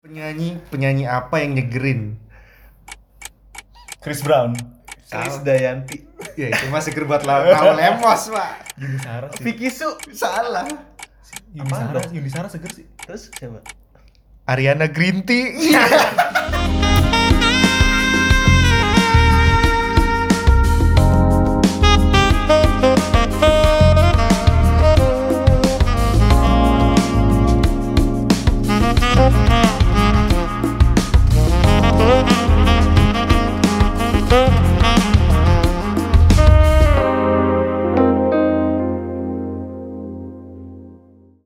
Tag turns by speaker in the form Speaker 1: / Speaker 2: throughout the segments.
Speaker 1: penyanyi penyanyi apa yang nyegerin
Speaker 2: Chris Brown.
Speaker 1: Chris
Speaker 2: Dayanti.
Speaker 1: ya itu masih kerbat lawan lemos pak
Speaker 3: Yuni Sara sih.
Speaker 2: Vicky Su.
Speaker 1: salah
Speaker 3: Yuni
Speaker 2: Apaan
Speaker 3: Sara,
Speaker 2: dong?
Speaker 3: Yuni Sara seger sih.
Speaker 2: Terus siapa?
Speaker 1: Ariana Green Tea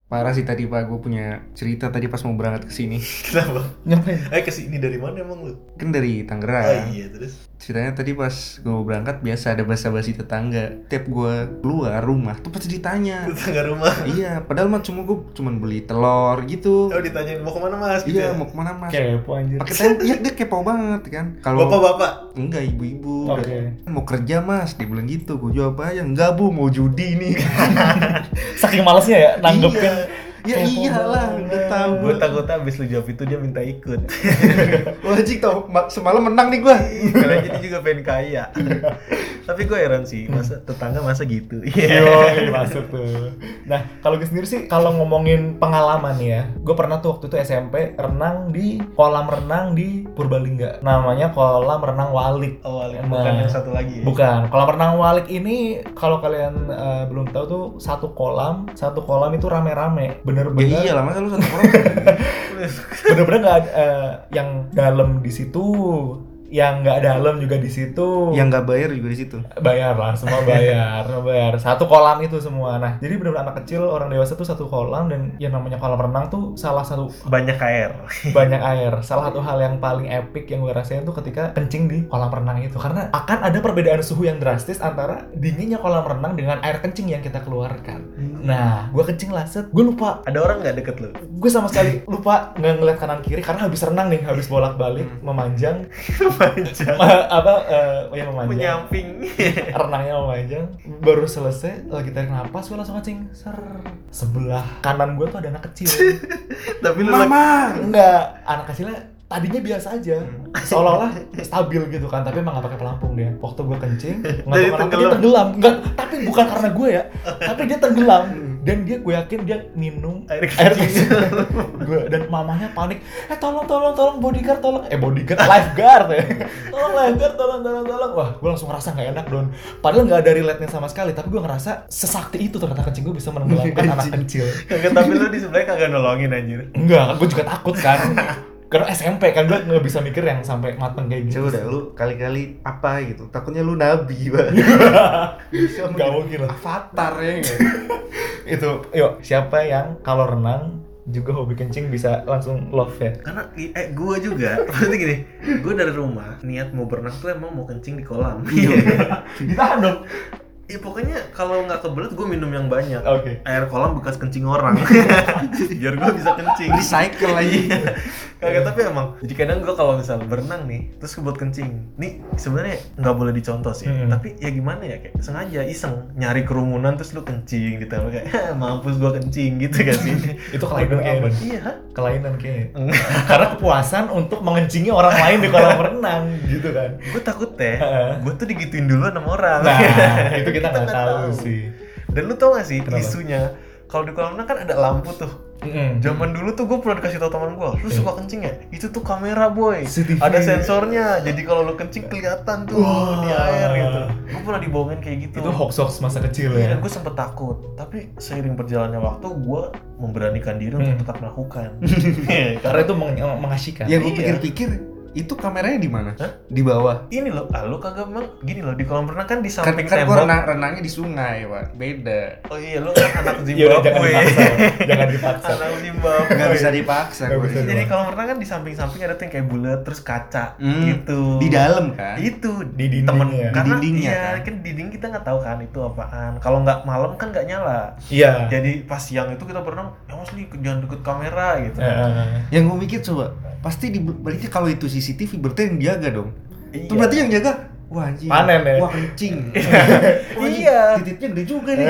Speaker 1: parah sih tadi pak gue punya cerita tadi pas mau berangkat ke sini
Speaker 2: Kenapa?
Speaker 3: Ngapain?
Speaker 2: Eh kesini dari mana emang lu?
Speaker 1: kan dari Tangerang
Speaker 2: Ah iya terus.
Speaker 1: ceritanya tadi pas gue berangkat biasa ada basa-basi tetangga tiap gue keluar rumah tuh pasti ditanya
Speaker 2: Tetangga rumah.
Speaker 1: iya padahal mah cuma gue cuman beli telur gitu
Speaker 2: Oh ditanyain mau kemana mas? Gitu
Speaker 1: iya
Speaker 2: ya?
Speaker 1: mau kemana mas
Speaker 3: Kepo anjir.
Speaker 1: pakai tem iya dia kepo banget kan kalau
Speaker 2: Bapak-bapak.
Speaker 1: enggak ibu-ibu
Speaker 3: Oke.
Speaker 1: mau kerja mas dia bilang gitu gue jawab aja enggak bu mau judi nih Iya.
Speaker 3: Saking malesnya ya
Speaker 2: Iya.
Speaker 3: nanggepin.
Speaker 1: ya
Speaker 3: Kepo
Speaker 1: iyalah
Speaker 3: banget.
Speaker 1: udah tahu
Speaker 2: Gue takutnya abis lu jawab itu dia minta ikut.
Speaker 1: wajib tau ma- semalam menang nih gue
Speaker 2: Karena dia juga pengen kaya. Tapi gue heran sih, masa tetangga masa gitu. Iya.
Speaker 3: Yo, masuk tuh. Nah, kalau gue sendiri sih, kalau ngomongin pengalaman nih ya, gue pernah tuh waktu itu SMP renang di kolam renang di Purbalingga. Namanya kolam renang Walik.
Speaker 2: Awalnya bukan
Speaker 3: Nah.
Speaker 2: yang satu lagi. ya?
Speaker 3: Bukan, kolam renang Walik ini kalau kalian eh, belum tahu tuh satu kolam, satu kolam itu rame-rame,
Speaker 1: ya
Speaker 2: Iya,
Speaker 3: bener-bener
Speaker 1: iyalah masa lu satu orang
Speaker 3: bener-bener nggak ada, eh, yang dalam di situ yang nggak dalam juga di situ
Speaker 1: yang nggak bayar juga di situ
Speaker 3: bayar lah semua bayar semua bayar satu kolam itu semua nah jadi benar-benar anak kecil orang dewasa tuh satu kolam dan yang namanya kolam renang tuh salah satu
Speaker 2: Banyak air.
Speaker 3: banyak air salah satu hal yang paling epic yang gue rasain tuh ketika kencing di kolam renang itu karena akan ada perbedaan suhu yang drastis antara dinginnya kolam renang dengan air kencing yang kita keluarkan nah gue kencing lah set gue lupa
Speaker 2: Ada orang nggak deket lu?
Speaker 3: gue sama sekali lupa nggak ngeliat kanan kiri karena habis renang nih habis bolak balik
Speaker 1: Hmm.
Speaker 3: memanjang
Speaker 2: Panjang.
Speaker 3: ma- apa eh, ya memanjang
Speaker 2: Menyamping.
Speaker 3: renangnya memanjang baru selesai lagi tarik nafas gue langsung kencing ser sebelah kanan gue tuh ada anak kecil
Speaker 2: Tapi lu lagi-
Speaker 1: mama
Speaker 3: enggak anak kecilnya tadinya biasa aja
Speaker 2: Hmm.
Speaker 3: seolah-olah stabil gitu kan tapi emang gak pakai pelampung dia waktu gue kencing
Speaker 2: Jadi
Speaker 3: ngeliat anak
Speaker 2: tenggelam.
Speaker 3: dia tenggelam enggak tapi bukan karena gue ya tapi dia tenggelam dan dia gue yakin dia minum
Speaker 2: Hmm. air
Speaker 3: air
Speaker 2: kecil.
Speaker 3: gue dan mamanya panik eh tolong tolong tolong bodyguard tolong eh bodyguard lifeguard ya tolong lifeguard tolong tolong tolong wah gue langsung ngerasa nggak enak don padahal nggak ada relate nya sama sekali tapi gue ngerasa sesakti itu ternyata kencing gue bisa menenggelamkan anak kecil
Speaker 2: Kagak tapi lu di sebelahnya kagak nolongin anjir.
Speaker 3: enggak gue juga takut kan karena SMP kan gue nggak bisa mikir yang sampai mateng kayak gitu
Speaker 1: coba dah lu kali-kali apa gitu takutnya lu nabi pak bisa
Speaker 3: nggak mungkin lah
Speaker 1: avatar ya nggak?
Speaker 3: itu yuk siapa yang kalau renang juga hobi kencing bisa langsung love ya
Speaker 2: Karena i- eh gua juga, maksudnya gini, gua dari rumah niat mau berenang tuh emang mau kencing di kolam. Iya.
Speaker 3: ditahan dong
Speaker 2: ya pokoknya kalau nggak kebelet gua minum yang banyak.
Speaker 3: oke
Speaker 2: Air kolam bekas kencing orang. Biar gua bisa kencing.
Speaker 1: recycle aja
Speaker 2: Kagak tapi emang. Jadi kadang gua kalau misal berenang nih, terus kebelet kencing. Nih sebenarnya nggak boleh dicontoh sih.
Speaker 3: Hmm.
Speaker 2: Tapi ya gimana ya kayak sengaja iseng nyari kerumunan terus lu kencing gitu kayak "Hah, mampus gua kencing gitu kan sih.
Speaker 3: itu gitu. kelainan kayaknya Don.
Speaker 2: Iya.
Speaker 3: kelainan kayaknya karena kepuasan untuk mengencingi orang lain di kolam renang gitu kan
Speaker 2: gue takut teh
Speaker 3: Heeh.
Speaker 2: gue tuh digituin dulu sama orang
Speaker 3: nah itu kita nggak tahu, sih
Speaker 2: dan lu tau gak sih
Speaker 3: Kenapa?
Speaker 2: isunya kalau di kolam renang kan ada lampu tuh zaman dulu tuh gue pernah dikasih tau teman gue lu
Speaker 3: Iya.
Speaker 2: suka kencing ya itu tuh kamera boy
Speaker 3: CCTV.
Speaker 2: ada sensornya jadi kalau lu kencing kelihatan tuh
Speaker 3: Wah.
Speaker 2: di air gitu gue pernah dibohongin kayak gitu
Speaker 3: itu hoax hoax masa kecil
Speaker 2: Iya,
Speaker 3: ya
Speaker 2: dan gue sempet takut, tapi seiring berjalannya waktu gue memberanikan diri
Speaker 3: Hmm.
Speaker 2: untuk tetap melakukan. Iya,
Speaker 3: karena itu meng mengasyikan
Speaker 1: ya gue
Speaker 2: Iya.
Speaker 1: pikir-pikir itu kameranya di mana
Speaker 2: Hah?
Speaker 1: di bawah
Speaker 2: ini loh, ah, lu kagak emang gini loh di kolam renang kan di
Speaker 1: kan
Speaker 2: samping
Speaker 1: kan gua
Speaker 2: tembok.
Speaker 1: renang, renangnya di sungai pak beda
Speaker 2: Oh iya, lu kan anak
Speaker 3: ya udah jangan
Speaker 2: Zimbabwe.
Speaker 3: dipaksa jangan dipaksa
Speaker 2: anak Zimbabwe.
Speaker 1: nggak bisa dipaksa
Speaker 3: Oh, iya. Nggak
Speaker 1: gua.
Speaker 3: bisa.
Speaker 2: Jadi kalau renang kan di samping-samping ada tuh yang kayak bulat terus kaca
Speaker 1: Iya. Hmm.
Speaker 2: gitu.
Speaker 1: di dalam kan
Speaker 2: Itu
Speaker 3: Di dinding
Speaker 2: temen
Speaker 3: ya.
Speaker 1: Di
Speaker 2: karena
Speaker 1: dindingnya
Speaker 2: iya,
Speaker 1: kan.
Speaker 2: kan dinding kita nggak tahu kan itu apaan. Kalau nggak malam kan nggak nyala.
Speaker 3: iya
Speaker 2: Jadi pas siang itu kita berenang, ya mas Li, jangan deket kamera gitu.
Speaker 1: Iya.
Speaker 3: Eh,
Speaker 1: yang gue mikir coba pasti di berarti kalau itu CCTV berarti yang jaga dong itu
Speaker 2: Iya.
Speaker 1: berarti yang jaga wah anjing
Speaker 3: Panen ya?
Speaker 1: wah kencing Wah, anjing,
Speaker 2: Iya. Eh,
Speaker 1: titiknya gede juga nih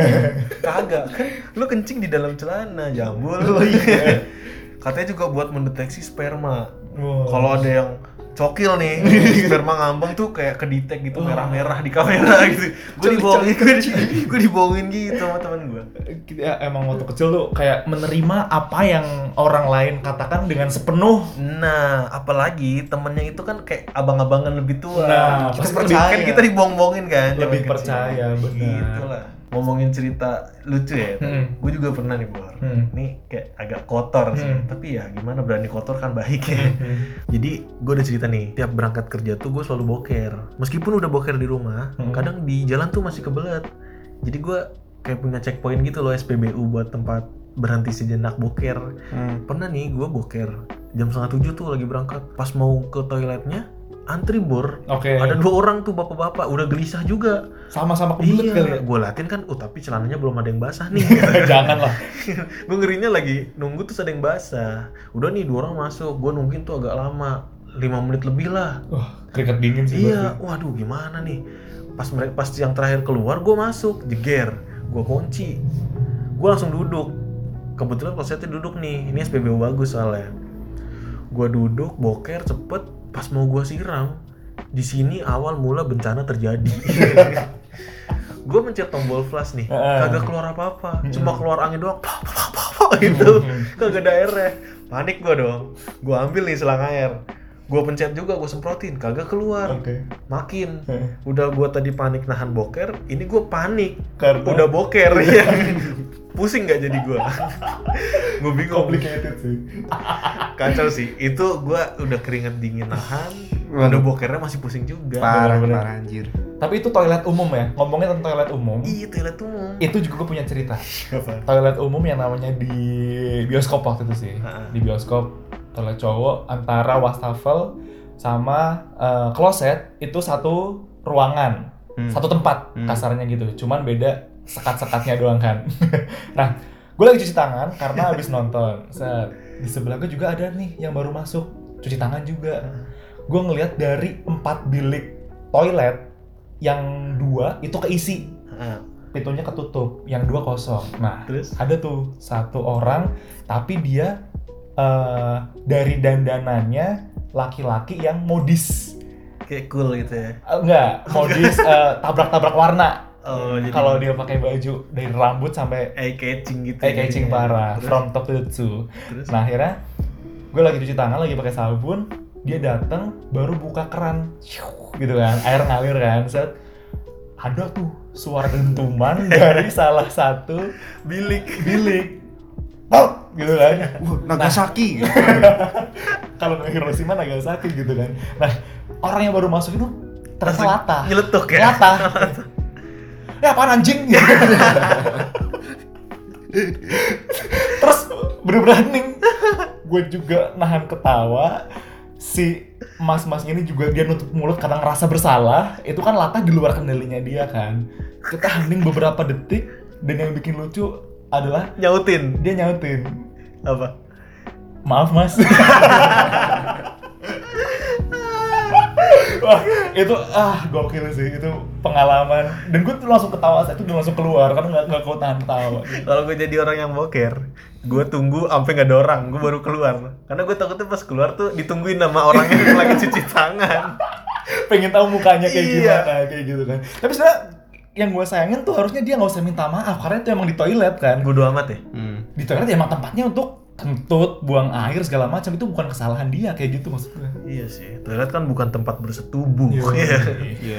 Speaker 2: kagak kan lu kencing di dalam celana jambul.
Speaker 1: Oh, iya.
Speaker 2: Katanya juga buat mendeteksi sperma.
Speaker 3: Wah.
Speaker 2: Kalau ada yang cokil nih, sperma ngambang tuh kayak kedetek gitu
Speaker 3: Wah.
Speaker 2: merah-merah di kamera gitu. Gue
Speaker 3: Oh. Coli-
Speaker 2: dibohongin,
Speaker 3: coli-
Speaker 2: gue di- gue dibohongin gitu sama teman gue.
Speaker 3: kita emang waktu kecil tuh kayak menerima apa yang orang lain katakan dengan sepenuh
Speaker 2: Nah, apalagi temennya itu kan kayak abang-abangan lebih tua.
Speaker 3: Nah,
Speaker 2: kita
Speaker 3: pasti
Speaker 2: percaya.
Speaker 3: percaya.
Speaker 2: Kan kita dibohong-bohongin kan. zaman
Speaker 3: Lebih
Speaker 2: kecil.
Speaker 3: percaya, benar.
Speaker 2: Gitu lah. Ngomongin cerita lucu ya.
Speaker 3: Hmm.
Speaker 2: Gue juga pernah nih, Bor.
Speaker 3: Hmm.
Speaker 2: Ini kayak agak kotor sih.
Speaker 3: Hmm.
Speaker 2: Tapi ya gimana berani kotor kan baik ya. Jadi gue udah cerita nih, tiap berangkat kerja tuh gue selalu boker. Meskipun udah boker di rumah,
Speaker 3: Hmm.
Speaker 2: kadang di jalan tuh masih kebelet. Jadi gue kayak punya checkpoint gitu loh SPBU buat tempat berhenti sejenak boker pernah nih gue boker jam setengah tujuh tuh lagi berangkat pas mau ke toiletnya antri bor
Speaker 3: oke
Speaker 2: ada dua orang tuh bapak-bapak udah gelisah juga
Speaker 3: sama-sama kebelet kali ya
Speaker 2: gue latin kan oh tapi celananya belum ada yang basah nih
Speaker 3: jangan lah
Speaker 2: gue ngerinya lagi nunggu terus ada yang basah udah nih dua orang masuk gue nungguin tuh agak lama lima menit lebih lah
Speaker 3: wah keringet dingin sih gua
Speaker 2: iya waduh gimana nih pas mereka pas yang terakhir keluar gue masuk jeger gue kunci gue langsung duduk kebetulan klosetnya duduk nih ini SPBU bagus soalnya gue duduk boker cepet pas mau gue siram di sini awal mula bencana terjadi gue mencet tombol flash nih
Speaker 3: Heeh.
Speaker 2: kagak keluar apa apa cuma
Speaker 3: Mm-mm.
Speaker 2: keluar angin doang pah, pah, pah, pah, pah, gitu
Speaker 3: Mm-mm.
Speaker 2: kagak ada airnya panik gue dong gue ambil nih selang air gue pencet juga gue semprotin kagak keluar
Speaker 3: oke
Speaker 2: makin
Speaker 3: Heeh.
Speaker 2: udah gua tadi panik nahan boker ini gua panik
Speaker 3: karena
Speaker 2: udah boker ya pusing nggak jadi gua gue bingung
Speaker 3: complicated sih
Speaker 2: kacau sih itu gua udah keringet dingin nahan
Speaker 1: Waduh.
Speaker 2: udah bokernya masih pusing juga
Speaker 1: parah
Speaker 3: bener-bener.
Speaker 1: parah anjir
Speaker 3: tapi itu toilet umum ya ngomongin tentang toilet umum
Speaker 2: iya toilet umum
Speaker 3: itu juga gue punya cerita toilet umum yang namanya di bioskop waktu itu sih
Speaker 2: Ha-ha.
Speaker 3: di bioskop toilet cowok antara wastafel sama eh, kloset itu satu ruangan
Speaker 1: Hmm.
Speaker 3: satu tempat
Speaker 1: Hmm.
Speaker 3: kasarnya gitu cuman beda sekat-sekatnya doang kan nah gue lagi cuci tangan karena habis nonton Set. di sebelah gue juga ada nih yang baru masuk cuci tangan juga gue ngelihat dari empat bilik toilet yang dua itu keisi
Speaker 2: Ah,
Speaker 3: pintunya ketutup, yang dua kosong. Nah,
Speaker 2: terus
Speaker 3: ada tuh satu orang, tapi dia eh, dari dandanannya laki-laki yang modis,
Speaker 2: kayak cool gitu ya
Speaker 3: Eh, enggak modis eh, tabrak-tabrak warna.
Speaker 2: oh jadi
Speaker 3: Kalau dia pakai baju dari rambut sampai
Speaker 2: eye catching gitu
Speaker 3: kayak catching parah,
Speaker 2: terus,
Speaker 3: from top to the toe.
Speaker 2: terus
Speaker 3: Nah akhirnya gue lagi cuci tangan, lagi pakai sabun, dia datang baru buka keran, Syuh, gitu kan, air ngalir kan, set ada tuh suara dentuman dari salah satu
Speaker 2: bilik
Speaker 3: bilik Pop! gitu kan
Speaker 1: Wah, Nagasaki
Speaker 2: Nah.
Speaker 3: kalau nggak Hiroshima Nagasaki gitu kan nah orang yang baru masuk itu terasa
Speaker 2: Langsung
Speaker 3: latah
Speaker 2: nyeletuk ya
Speaker 3: latah ya apaan anjing terus bener-bener hening gue juga nahan ketawa si mas-mas ini juga dia nutup mulut karena ngerasa bersalah itu kan latah di luar kendalinya dia kan kita hening beberapa detik dan yang bikin lucu adalah
Speaker 2: nyautin
Speaker 3: dia nyautin
Speaker 2: apa
Speaker 3: maaf mas Wah, itu ah gokil sih itu pengalaman dan gue tuh langsung ketawa saat itu udah langsung keluar karena nggak nggak kau tahan ketawa
Speaker 2: Kalau gue jadi orang yang boker, gue tunggu sampai nggak ada orang, gue baru keluar. Karena gue takutnya pas keluar tuh ditungguin sama orang yang lagi cuci tangan.
Speaker 3: pengen tahu mukanya kayak
Speaker 2: Iya.
Speaker 3: gimana kayak gitu kan tapi sebenarnya yang gue sayangin tuh harusnya dia nggak usah minta maaf karena itu emang di toilet kan
Speaker 2: Bodo amat ya.
Speaker 1: hmm.
Speaker 3: di toilet emang tempatnya untuk kentut buang air segala macam itu bukan kesalahan dia kayak gitu maksud gue
Speaker 2: Iya sih. Toilet kan bukan tempat bersetubuh.
Speaker 3: Iya.
Speaker 1: ya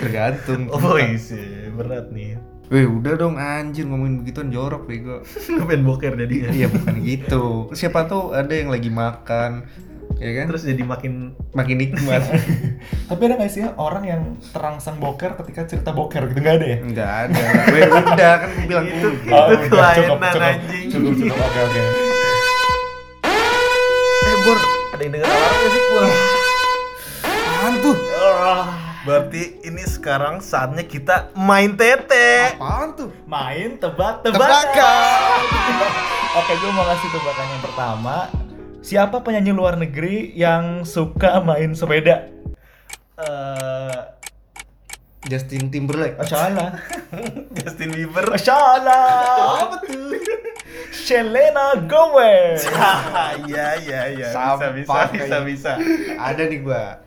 Speaker 1: tergantung
Speaker 2: Oh sih, berat nih.
Speaker 1: Weh udah dong anjir ngomongin begituan jorok bego
Speaker 2: Gue pengen boker jadinya.
Speaker 1: Iya bukan gitu Siapa tahu ada yang lagi makan Ya kan
Speaker 2: Terus jadi makin
Speaker 1: makin nikmat
Speaker 3: tapi ada nggak sih ya orang yang terangsang boker ketika cerita boker gitu nggak ada ya
Speaker 1: Enggak ada Weh udah kan gue bilang
Speaker 2: Itu-
Speaker 1: udah.
Speaker 2: Itu kelainan,
Speaker 3: Oh, iya, cukup,
Speaker 2: anjing.
Speaker 3: Cukup, cukup, oke, oke.
Speaker 2: eh bor ada yang denger alarm nggak sih bor?
Speaker 1: Apaan tuh?
Speaker 2: Ah, Berarti ini sekarang saatnya kita main tete.
Speaker 1: Apaan tuh?
Speaker 3: Main tebak-tebakan.
Speaker 1: Tebakan
Speaker 3: Oke, gue mau kasih tebakan yang pertama. Siapa penyanyi luar negeri yang suka main sepeda?
Speaker 2: Eh,
Speaker 1: Justin Timberlake.
Speaker 3: Acala.
Speaker 2: Justin Bieber
Speaker 3: Acala. Apa tuh? Selena Gomez.
Speaker 2: iya iya iya bisa
Speaker 1: Sampah
Speaker 2: bisa bisa
Speaker 1: kayak-
Speaker 2: bisa
Speaker 1: Ada nih gua.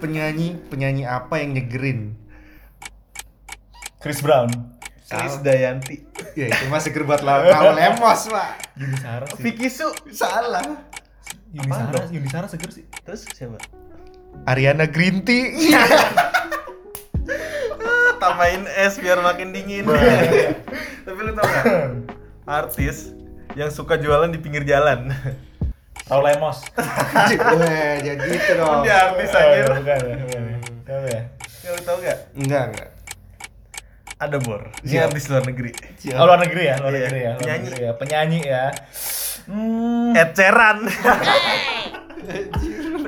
Speaker 1: penyanyi penyanyi apa yang nyegerin?
Speaker 3: Chris Brown.
Speaker 1: Salah.
Speaker 2: Chris Dayanti
Speaker 1: Ya itu masih kerbat lah. Tahu lemos, Pak.
Speaker 3: Yuni Sara sih.
Speaker 2: Vicky Su
Speaker 1: Salah.
Speaker 3: Yuni
Speaker 2: Apaan
Speaker 3: Sara,
Speaker 2: dong?
Speaker 3: Yuni Sara seger sih.
Speaker 2: terus siapa
Speaker 1: Ariana Green Tea.
Speaker 2: Ah, tambahin es biar makin dingin tapi lu tau gak artis yang suka jualan di pinggir jalan
Speaker 3: Raul Lemos.
Speaker 1: Weh, jadi gitu dong.
Speaker 2: dia artis
Speaker 3: Oh, ya,
Speaker 2: aja
Speaker 3: Bukan ya. bukan ya. Siapa ya?
Speaker 2: lu tau gak
Speaker 1: Enggak, enggak.
Speaker 2: ada bor ini
Speaker 1: Siapa?
Speaker 2: artis luar negeri
Speaker 3: Oh, luar negeri ya, luar
Speaker 2: Iya,
Speaker 3: negeri ya, luar
Speaker 2: penyanyi.
Speaker 3: negeri ya, penyanyi ya. Hmm.
Speaker 2: Ed Sheeran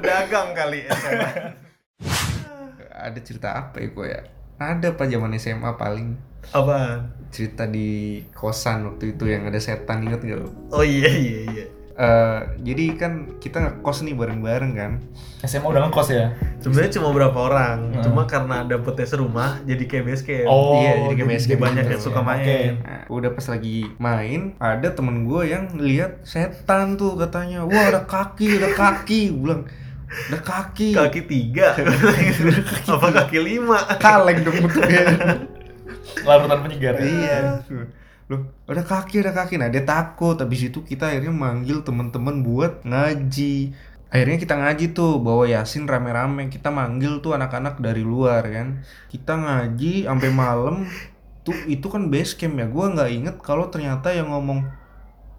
Speaker 2: pedagang kali Ed Sheeran
Speaker 1: Ada cerita apa ya gua ya? Ada apa zaman SMA paling
Speaker 2: apaan
Speaker 1: cerita di kosan waktu itu yang ada setan inget gak lu?
Speaker 2: oh iya iya iya
Speaker 1: Eh, jadi kan kita ngekos nih bareng-bareng kan.
Speaker 3: SMA udah ngekos ya?
Speaker 2: sebenarnya cuma berapa orang
Speaker 3: Hmm.
Speaker 2: cuma karena ada potes rumah jadi kayak base camp
Speaker 1: iya, jadi kayak basket
Speaker 2: banyak
Speaker 1: gitu
Speaker 2: yang
Speaker 1: ya.
Speaker 2: suka main
Speaker 1: Nah, udah pas lagi main, ada temen gue yang lihat setan tuh katanya, wah ada kaki, ada kaki, Gua bilang ada kaki,
Speaker 2: kaki tiga apa kaki lima
Speaker 1: kaleng dong bentuknya.
Speaker 3: Larutan penyegar. ya?
Speaker 1: iya. Loh, ada kaki, ada kaki. Nah dia takut. Habis itu kita akhirnya manggil temen-temen buat ngaji. Akhirnya kita ngaji tuh bawa Yasin rame-rame. Kita manggil tuh anak-anak dari luar kan. Kita ngaji sampai malam. Tuh itu kan base camp ya. Gua nggak inget kalau ternyata yang ngomong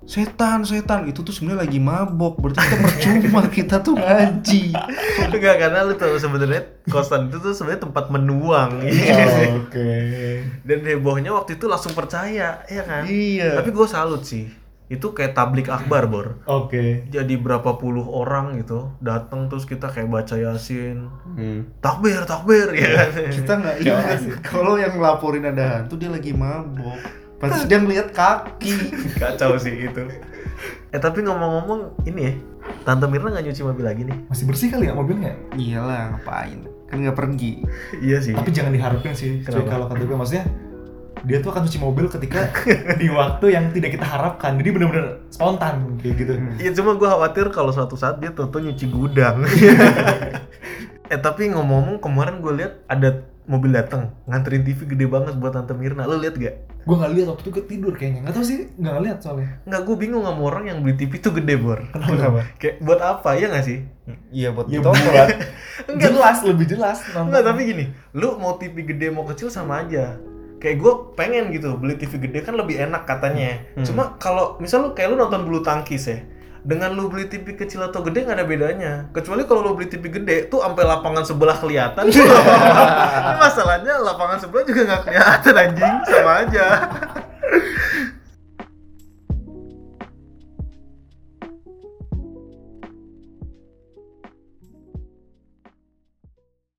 Speaker 1: setan setan itu tuh sebenarnya lagi mabok berarti kita percuma kita tuh ngaji
Speaker 2: Enggak karena lu tahu sebenarnya kosan itu tuh sebenarnya tempat menuang.
Speaker 3: Oh, Oke.
Speaker 2: Dan hebohnya waktu itu langsung percaya, ya kan?
Speaker 1: iya
Speaker 2: Tapi gue salut sih. Itu kayak tablik akbar, Bor.
Speaker 3: Oke.
Speaker 2: Jadi berapa puluh orang gitu datang terus kita kayak baca Yasin. Takbir, takbir ya. kan?
Speaker 1: Iya. kita nggak ingat kalau yang ngelaporin ada hantu dia lagi mabok pas dia ngeliat kaki
Speaker 2: Kacau sih itu. Eh tapi ngomong-ngomong ini ya, Tante Mirna nggak nyuci mobil lagi nih?
Speaker 3: Masih bersih kali ya mobilnya?
Speaker 1: iyalah ngapain kan nggak pergi
Speaker 2: Iya sih.
Speaker 3: Tapi jangan diharapkan sih. Cuy,
Speaker 2: Kenapa?
Speaker 3: kalau kata gue maksudnya dia tuh akan cuci mobil ketika di waktu yang tidak kita harapkan. Jadi benar-benar spontan kayak gitu.
Speaker 2: Ya cuma gue khawatir kalau suatu saat dia tuh nyuci gudang. eh tapi ngomong-ngomong kemarin gue lihat ada mobil datang nganterin TV gede banget buat Tante Mirna. Lo lihat gak?
Speaker 3: Gue nggak lihat waktu itu gue tidur kayaknya. Nggak tahu sih, nggak lihat soalnya.
Speaker 2: Nggak, gue bingung sama orang yang beli TV tuh gede bor.
Speaker 3: Kenapa?
Speaker 2: Kayak buat apa ya nggak sih?
Speaker 1: iya buat
Speaker 3: Ya
Speaker 1: kita
Speaker 3: buat
Speaker 2: Enggak.
Speaker 3: jelas, lebih jelas. nonton.
Speaker 2: Enggak, tapi gini, lu mau TV gede mau kecil sama aja. Kayak gue pengen gitu beli TV gede kan lebih enak katanya.
Speaker 1: Hmm.
Speaker 2: Cuma kalau misal lu kayak lu nonton bulu tangkis ya, dengan lu beli TV kecil atau gede nggak ada bedanya. Kecuali kalau lu beli TV gede tuh sampai lapangan sebelah kelihatan. Ini masalahnya lapangan sebelah juga nggak kelihatan anjing sama aja.